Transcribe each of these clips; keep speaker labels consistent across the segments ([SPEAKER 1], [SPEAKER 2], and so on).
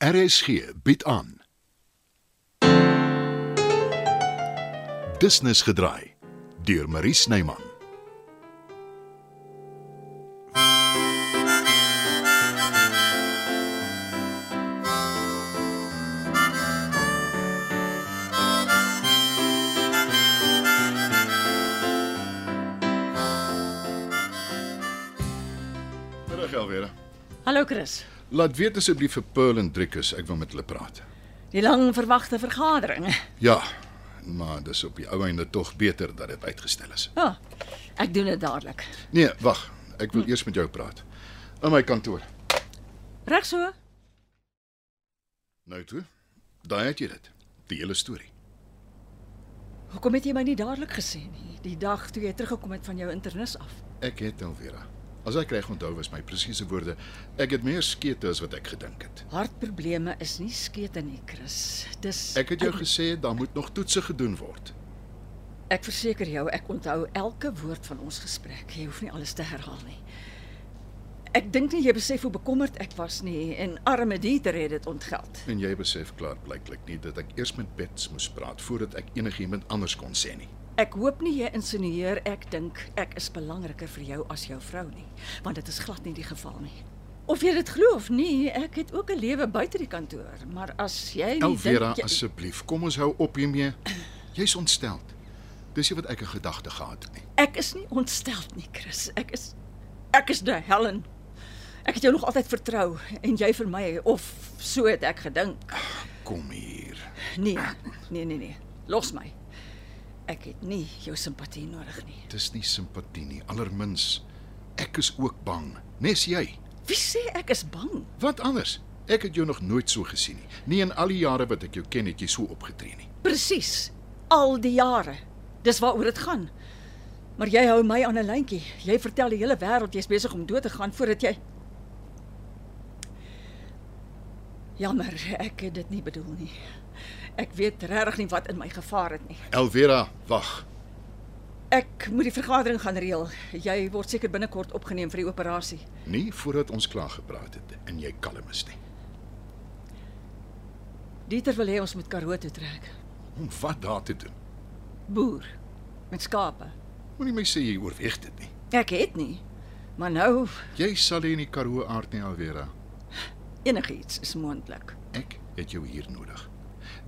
[SPEAKER 1] RSG bied aan. Business gedraai deur Marie Snyman. Terug alweer.
[SPEAKER 2] Hallo Chris.
[SPEAKER 1] Laat weet asseblief vir Pearl en Driekus, ek wil met hulle praat.
[SPEAKER 2] Die lang verwagte vergadering.
[SPEAKER 1] Ja, maar dis op die ou einde tog beter dat dit uitgestel is.
[SPEAKER 2] Ja. Ek doen dit dadelik.
[SPEAKER 1] Nee, wag, ek wil eers met jou praat. In my kantoor.
[SPEAKER 2] Reg so.
[SPEAKER 1] Nou toe. Daai het jy dit. Die hele storie.
[SPEAKER 2] Hoekom het jy my nie dadelik gesê nie? Die dag toe jy teruggekom het van jou internis af.
[SPEAKER 1] Ek het Elvera. As ek reg onthou was my presiese woorde, ek het meer skete as wat ek gedink het.
[SPEAKER 2] Hartprobleme is nie skete nie, Chris. Dis
[SPEAKER 1] Ek het jou gesê daar moet nog toetse gedoen word.
[SPEAKER 2] Ek verseker jou, ek onthou elke woord van ons gesprek. Jy hoef nie alles te herhaal nie. Ek dink nie jy besef hoe bekommerd ek was nie en arme Dieter het dit ontgeld.
[SPEAKER 1] En jy besef klaar blyklik nie dat ek eers met Bets moes praat voordat ek enigiemand anders kon sê nie.
[SPEAKER 2] Ek hoop nie jy insinueer ek dink ek is belangriker vir jou as jou vrou nie, want dit is glad nie die geval nie. Of jy dit glo of nie, ek het ook 'n lewe buite die kantoor, maar as jy nie
[SPEAKER 1] Elvera,
[SPEAKER 2] dink jy,
[SPEAKER 1] Nou, asseblief, kom ons hou op hiermee. Jy's ontstel. Dis nie wat ek in gedagte gehad het nie.
[SPEAKER 2] ek is nie ontsteld nie, Chris. Ek is ek is die Helen. Ek het jou nog altyd vertrou en jy vir my of so het ek gedink.
[SPEAKER 1] Kom hier.
[SPEAKER 2] Nee, nee, nee, nee. Los my. Ek het nie jou simpatie nodig nie.
[SPEAKER 1] Dis nie simpatie nie, allermins. Ek is ook bang, nes jy.
[SPEAKER 2] Wie sê ek is bang?
[SPEAKER 1] Wat anders? Ek het jou nog nooit so gesien nie. Nie in al die jare wat ek jou ken het jy so opgetree nie.
[SPEAKER 2] Presies. Al die jare. Dis waaroor dit gaan. Maar jy hou my aan 'n lyntjie. Jy vertel die hele wêreld jy's besig om dood te gaan voordat jy Jammer, ek het dit nie bedoel nie. Ek weet regtig nie wat in my gevaar het nie.
[SPEAKER 1] Elvera, wag.
[SPEAKER 2] Ek moet die vergadering gaan reël. Jy word seker binnekort opgeneem vir die operasie.
[SPEAKER 1] Nie voordat ons klaar gepraat het en jy kalm is nie.
[SPEAKER 2] Dieter wil hê ons moet Karoo toe trek.
[SPEAKER 1] Om wat daar te doen.
[SPEAKER 2] Boer met skape.
[SPEAKER 1] Moenie my sê jy oorweeg dit nie.
[SPEAKER 2] Ek het nie. Maar nou
[SPEAKER 1] Jy sal nie in die Karoo aard nie, Elvera.
[SPEAKER 2] enigiets is moontlik.
[SPEAKER 1] Ek het jou hier nodig.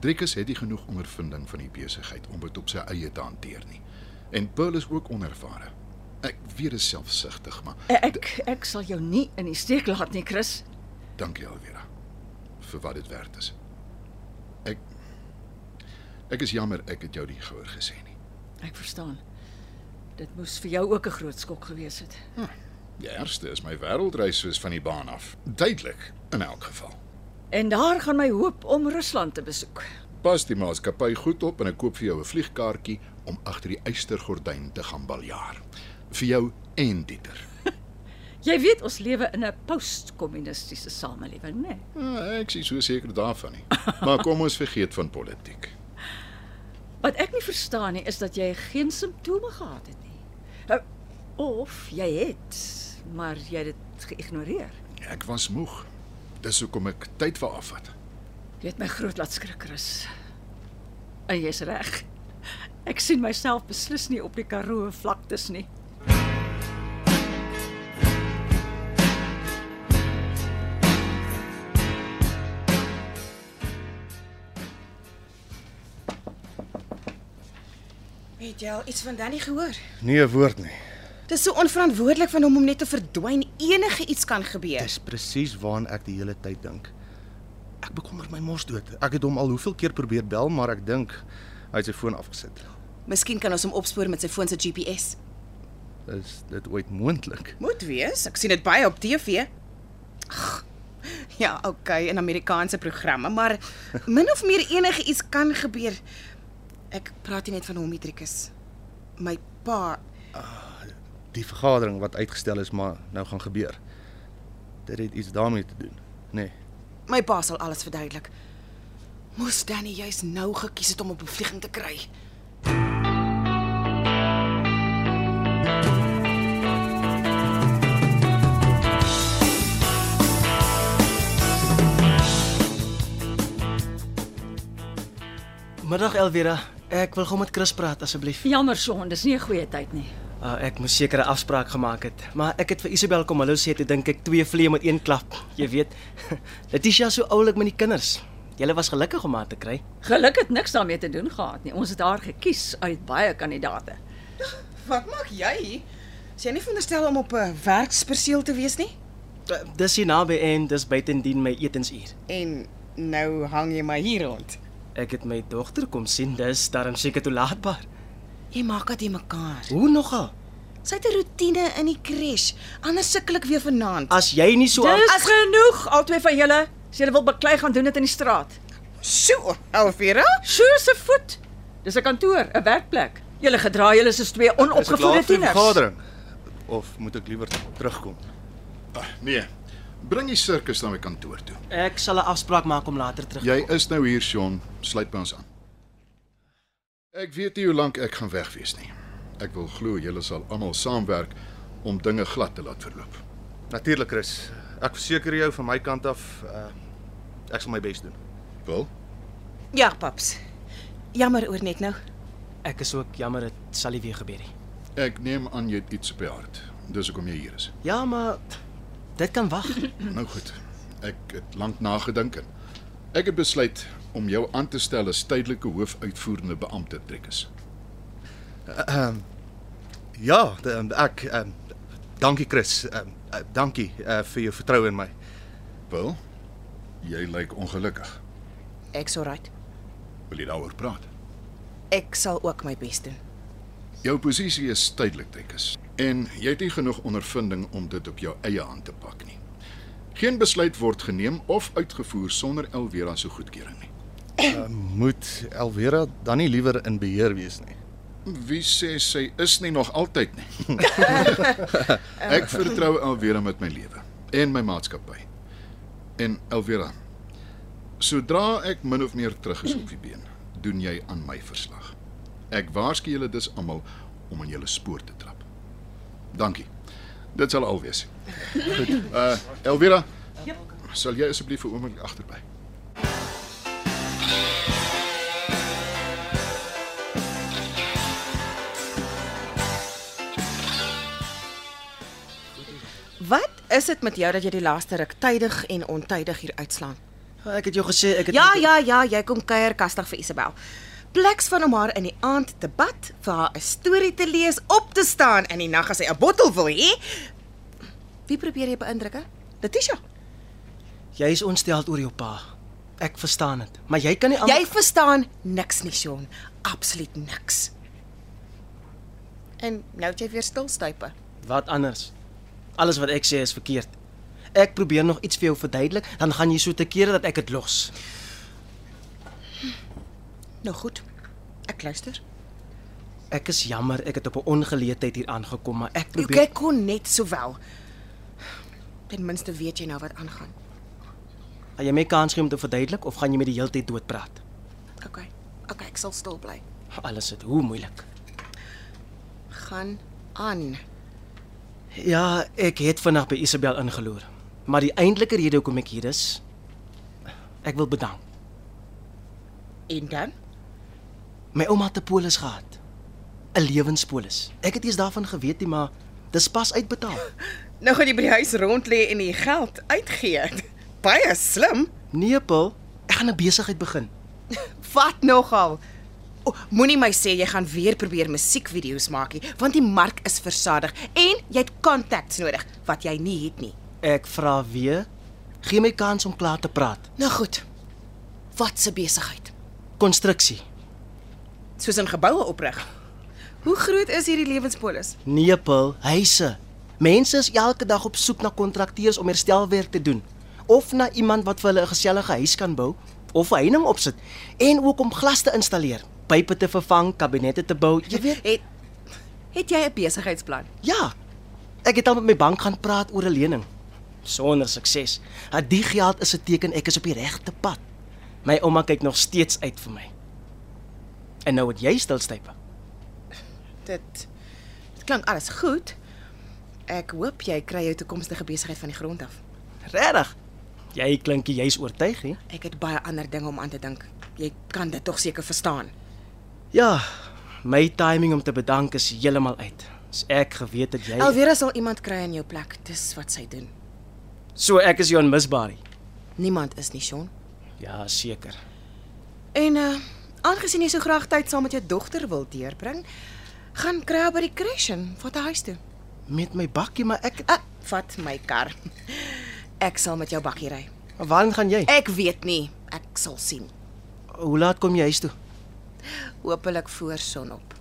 [SPEAKER 1] Driekus het nie genoeg ondervinding van die besigheid om dit op sy eie te hanteer nie. En Pearl is ook onervare. Ek weet dit is selfsugtig, maar
[SPEAKER 2] Eh, Ek ek sal jou nie in die steek laat nie, Chris.
[SPEAKER 1] Dankie Alvera vir wat dit werd is. Ek ek is jammer ek het jou nie gehoor gesê nie.
[SPEAKER 2] Ek verstaan. Dit moes vir jou ook 'n groot skok gewees het.
[SPEAKER 1] Die ergste is my wêreldreis soos van die baan af. Duidelik in elk geval.
[SPEAKER 2] En daar gaan my hoop om Rusland te besoek.
[SPEAKER 1] Pas die maatskappy goed op en ek koop vir jou 'n vliegkaartjie om agter die eystergordyn te gaan baljaar. Vir jou en Dieter.
[SPEAKER 2] Jy weet ons lewe in 'n post-kommunistiese samelewing, né?
[SPEAKER 1] Ah, Ek is so seker daarvan nie. Maar kom ons vergeet van politiek.
[SPEAKER 2] Wat ek nie verstaan nie is dat jy geen simptome gehad het nie. Nou, Of jy het, maar jy het dit geïgnoreer.
[SPEAKER 1] Ek was moeg. Dis hoekom ek tyd vir afvat.
[SPEAKER 2] Jy het my groot laat skrik, Chris. En jy's reg. Ek sien myself beslis nie op die Karoo vlaktes nie.
[SPEAKER 3] Het jy al iets van Danny gehoor?
[SPEAKER 4] Nee, 'n woord nie.
[SPEAKER 3] Dis so onverantwoordelik van hom om net te verdwyn. Enige iets kan gebeur.
[SPEAKER 4] Dis presies waaraan ek die hele tyd dink. Ek bekommer my mors dood. Ek het hom al hoeveel keer probeer bel, maar ek dink hy het sy foon afgesit.
[SPEAKER 3] Miskien kan ons hom opspoor met sy foon se GPS.
[SPEAKER 4] Is dit ooit moontlik?
[SPEAKER 3] Moet wees. Ek sien dit baie op TV. Ag. Ja, okay, in Amerikaanse programme, maar min of meer enige iets kan gebeur. Ek praat nie net van hom, Idrikus. My pa,
[SPEAKER 4] Die vergadering wat uitgestel is, maar nou gaan gebeur. Dit het iets daarmee te doen. Nee.
[SPEAKER 3] my pa sal alles verduidelik. Moes Danny juis nou gekies het om op bevlieging te kry.
[SPEAKER 5] Middag Elvira. Ek wil gou met Chris praat asseblief.
[SPEAKER 2] Jammer son, dis nie 'n goeie tyd nie.
[SPEAKER 5] Uh, ek moes sekere afspraak gemaak het, maar ek het vir Isabel kom hallo sê toe dink ek twee vleie met een klap. Jy weet, Letitia so oulik met die kinders. Julle was gelukkig om haar te kry.
[SPEAKER 2] Geluk het niks daarmee te doen gehad nie. Ons het haar gekies uit baie kandidate.
[SPEAKER 3] Wat maak jy? Is jy nie veronderstel om op 'n werksperseel te wees nie?
[SPEAKER 5] Uh, Dis hier naby en dis buitendien my etensuur.
[SPEAKER 3] En nou hang jy maar hier rond.
[SPEAKER 5] Ek het my dogter kom sien, dis daarom seker toelaatbaar.
[SPEAKER 3] Jy maak dit mekaar.
[SPEAKER 5] Hoe nogal?
[SPEAKER 3] Sy het 'n roetine in die crash. Anders sukkel ek weer vanaand.
[SPEAKER 5] As jy nie so
[SPEAKER 2] Dis As... genoeg albei van julle. As julle wil beklei gaan doen dit in die straat.
[SPEAKER 3] So, Elvira?
[SPEAKER 2] Sjoe se voet. Dis 'n kantoor, 'n werkplek. Julle gedra julle soos twee onopgevoede tieners.
[SPEAKER 4] vergadering of moet ek liewer terugkom?
[SPEAKER 1] Ah, nee. Bring die sirkus na my kantoor toe.
[SPEAKER 5] ek sal 'n afspraak maak om later terug.
[SPEAKER 1] Jy is nou hier, Sean. Sluit by ons aan. Ek weet nie hoe lank ek gaan weg wees nie. Ek wil glo julle sal almal saamwerk om dinge glad te laat verloop.
[SPEAKER 4] Natuurlik, Chris. Ek verseker jou van my kant af, uh, ek sal my bes doen.
[SPEAKER 1] Wel,
[SPEAKER 3] Ja, paps. Jammer oor net nou.
[SPEAKER 5] Ek is ook jammer dit sal nie weer gebeur nie.
[SPEAKER 1] ek neem aan jy het iets op die hart. Dis hoekom jy hier is.
[SPEAKER 5] Ja, maar dit kan wag.
[SPEAKER 1] Nou goed. Ek het lank nagedink en ek het besluit om jou aan te stel as tydelike hoofuitvoerende beampte trekkers.
[SPEAKER 4] Ja, d- ehm, ek ehm, dankie Chris. ehm, eh, Dankie uh, vir jou vertroue in my.
[SPEAKER 1] Wel, jy lyk ongelukkig.
[SPEAKER 3] Ek's alright.
[SPEAKER 1] Wil jy daaroor praat?
[SPEAKER 3] Ek sal ook my bes doen.
[SPEAKER 1] Jou posisie is tydelik trekkers en jy het nie genoeg ondervinding om dit op jou eie hand te pak nie. Geen besluit word geneem of uitgevoer sonder Elvera se goedkeuring nie.
[SPEAKER 4] Eh, Moet Elvera dan nie liewer in beheer wees nie?
[SPEAKER 1] Wie sê sy is nie nog altyd nie. ek vertrou Elvera met my lewe en my maatskappy. En Elvera, sodra ek min of meer terug is op die been, doen jy aan my verslag. Ek waarsku julle dus almal om in julle spoor te trap. Dankie. Dit sal al wees. Goed. Uh Elvera, sal jy asseblief vir oomlik agterby?
[SPEAKER 3] Wat is dit met jou dat jy die laaste ruk tydig en ontydig hier uitslaan?
[SPEAKER 5] Ah, Ek het jou gesê ek het
[SPEAKER 3] Ja, ja, ja, jy kom kuier kastig vir Isabel. Pleks van om haar in die aand te bad, vir haar 'n storie te lees, op te staan in die nag as sy 'n bottel wil hê. Wie probeer jy beïndruk? hè? Letitia,
[SPEAKER 5] Jy is ontsteld oor jou pa. Ek verstaan dit, maar jy kan nie aan-
[SPEAKER 3] jy verstaan niks nie, Sean. Absoluut niks. En nou het jy weer stilstype.
[SPEAKER 5] wat anders. Alles wat ek sê is verkeerd. Ek probeer nog iets vir jou verduidelik, dan gaan jy so te kere dat ek dit los.
[SPEAKER 3] Nou goed. Ek luister.
[SPEAKER 5] Ek is jammer ek het op 'n ongeleentheid hier aangekom, maar ek probeer
[SPEAKER 3] Jy kon net sowel. Ten minste weet jy nou wat aangaan.
[SPEAKER 5] Gaan jy my kans gee om te verduidelik of gaan jy met die heeltyd dood praat?
[SPEAKER 3] OK. OK, ek sal stil bly.
[SPEAKER 5] Alles is hoe moeilik.
[SPEAKER 3] Gaan aan.
[SPEAKER 5] Ja, ek het vandag by Isabel ingeloer, maar die eintlike rede hoekom ek hier is, ek wil bedank.
[SPEAKER 3] En dan?
[SPEAKER 5] My ouma het 'n polis gehad. 'n Lewenspolis. Ek het eers daarvan geweet nie, maar dis pas uitbetaal.
[SPEAKER 3] Nou gaan jy by die huis rond lê en die geld uitgee. Baie slim.
[SPEAKER 5] Nee, Paul, ek gaan 'n besigheid begin.
[SPEAKER 3] Vat nogal. O, Moenie my sê jy gaan weer probeer musiekvideo's maak nie, want die mark is versadig en jy het contacts nodig wat jy nie het nie.
[SPEAKER 5] Ek vra weer, gee my kans om klaar te praat.
[SPEAKER 3] Nou goed. Wat se besigheid?
[SPEAKER 5] Konstruksie.
[SPEAKER 3] Soos 'n geboue oprig. Hoe groot is hierdie lewenspolis?
[SPEAKER 5] Nee, Paul, huise. Mense is elke dag op soek na kontrakteurs om herstelwerk te doen of na iemand wat vir hulle 'n gesellige huis kan bou of 'n heining opsit en ook om glas te installeer, pype te vervang, kabinette te bou. Jy weet,
[SPEAKER 3] Het het jy 'n besigheidsplan?
[SPEAKER 5] Ja. Ek het al met my bank gaan praat oor 'n lening. Sonder sukses. Dat die geld is 'n teken ek is op die regte pad. My ouma kyk nog steeds uit vir my. En nou het jy stilstype.
[SPEAKER 3] Dit dit klink alles goed. Ek hoop jy kry jou toekomstige besigheid van die grond af.
[SPEAKER 5] Regtig? Jy klinkie, jy's oortuig, hè?
[SPEAKER 3] Ek het baie ander dinge om aan te dink. Jy kan dit tog seker verstaan.
[SPEAKER 5] Ja, my timing om te bedank is heeltemal uit. As ek geweet het jy
[SPEAKER 3] Alvera sal iemand kry in jou plek. Dis wat sy doen.
[SPEAKER 5] So ek is jou onmisbaar.
[SPEAKER 3] Niemand is nie, Sean.
[SPEAKER 5] Ja, seker.
[SPEAKER 3] En uh aangesien jy so graag tyd saam met jou dogter wil deurbring, gaan kry haar by die crash en vat haar huis toe.
[SPEAKER 5] Met my bakkie, maar ek
[SPEAKER 3] Uh, vat my kar. Ek sal met jou bakkie ry.
[SPEAKER 5] Waarheen gaan jy?
[SPEAKER 3] Ek weet nie. Ek sal sien.
[SPEAKER 5] Hoe laat kom jy huis toe?
[SPEAKER 3] Hoopelik voor son op.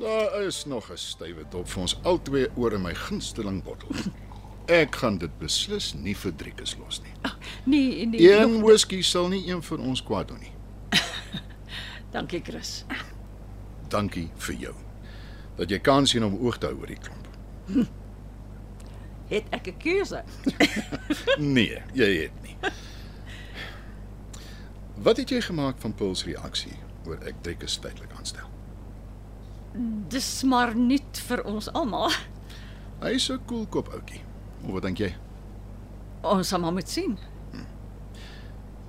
[SPEAKER 1] Daar is nog 'n stywe dop vir ons albei oor in my gunsteling bottel. Ek gaan dit beslis nie vir Driekus los nie.
[SPEAKER 2] Nee, nee.
[SPEAKER 1] Een whisky sal nie een van ons kwaad doen nie.
[SPEAKER 2] Dankie, Chris.
[SPEAKER 1] Dankie vir jou. Dat jy kans sien om oog te hou oor die klomp.
[SPEAKER 2] Het ek 'n keuse?
[SPEAKER 1] Nee, jy het nie. Wat het jy gemaak van Paul se reaksie oor ek Driekus tydelik aanstel?
[SPEAKER 2] Dis maar nie vir ons almal.
[SPEAKER 1] Hy's 'n koelkop ouetjie. Of wat dink jy?
[SPEAKER 2] Ons sal maar moet sien.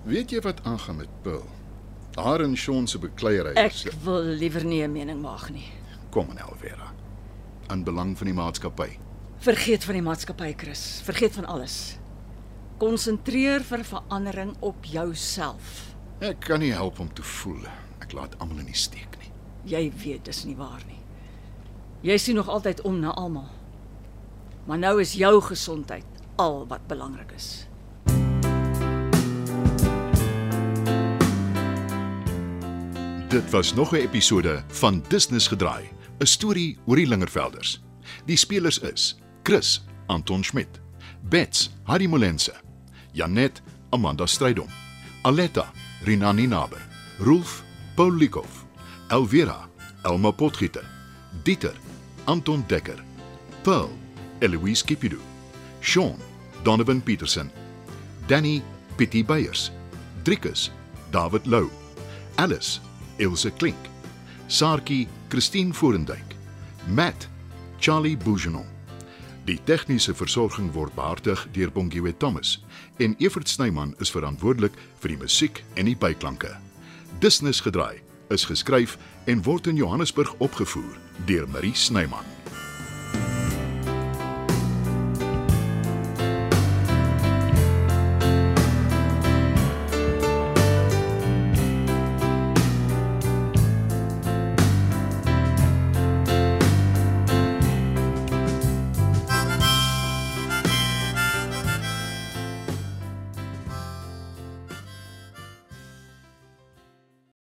[SPEAKER 1] Weet jy wat aangaan met Paul? Daar in Sean se bekleierery.
[SPEAKER 2] Ek wil liewer nie 'n mening maak nie.
[SPEAKER 1] kom in Elvera. In belang van die maatskappy.
[SPEAKER 2] Vergeet van die maatskappy, Chris. Vergeet van alles. Konsentreer vir verandering op jouself.
[SPEAKER 1] Ek kan nie help om te voel ek laat almal in die steek nie.
[SPEAKER 2] Jy weet dis nie waar nie. Jy sien nog altyd om na almal. Maar nou is jou gesondheid al wat belangrik is.
[SPEAKER 1] Dit was nog 'n episode van Business gedraai, 'n storie oor die Lingervelders. Die spelers is Chris Anton Schmidt, Bets Harry Molense, Janet Amanda Strydom, Aletta Rinani Naber, Rolf Paul Likoff, Elvira Elma Potgieter, Dieter Anton Dekker, Pearl Eloise Kipidu, Sean Donovan Petersen, Danny Pietie Beyers, Driekus David Lou, Alice Ilse Klink, Saartjie Christine Forendyk, Matt Charlie Bougenon. Die tegniese versorging word behartig deur Bongwe Thomas en Evert Snyman is verantwoordelik vir die musiek en die byklanke. Dusnus gedraai is geskryf en word in Johannesburg opgevoer deur Marie Snyman.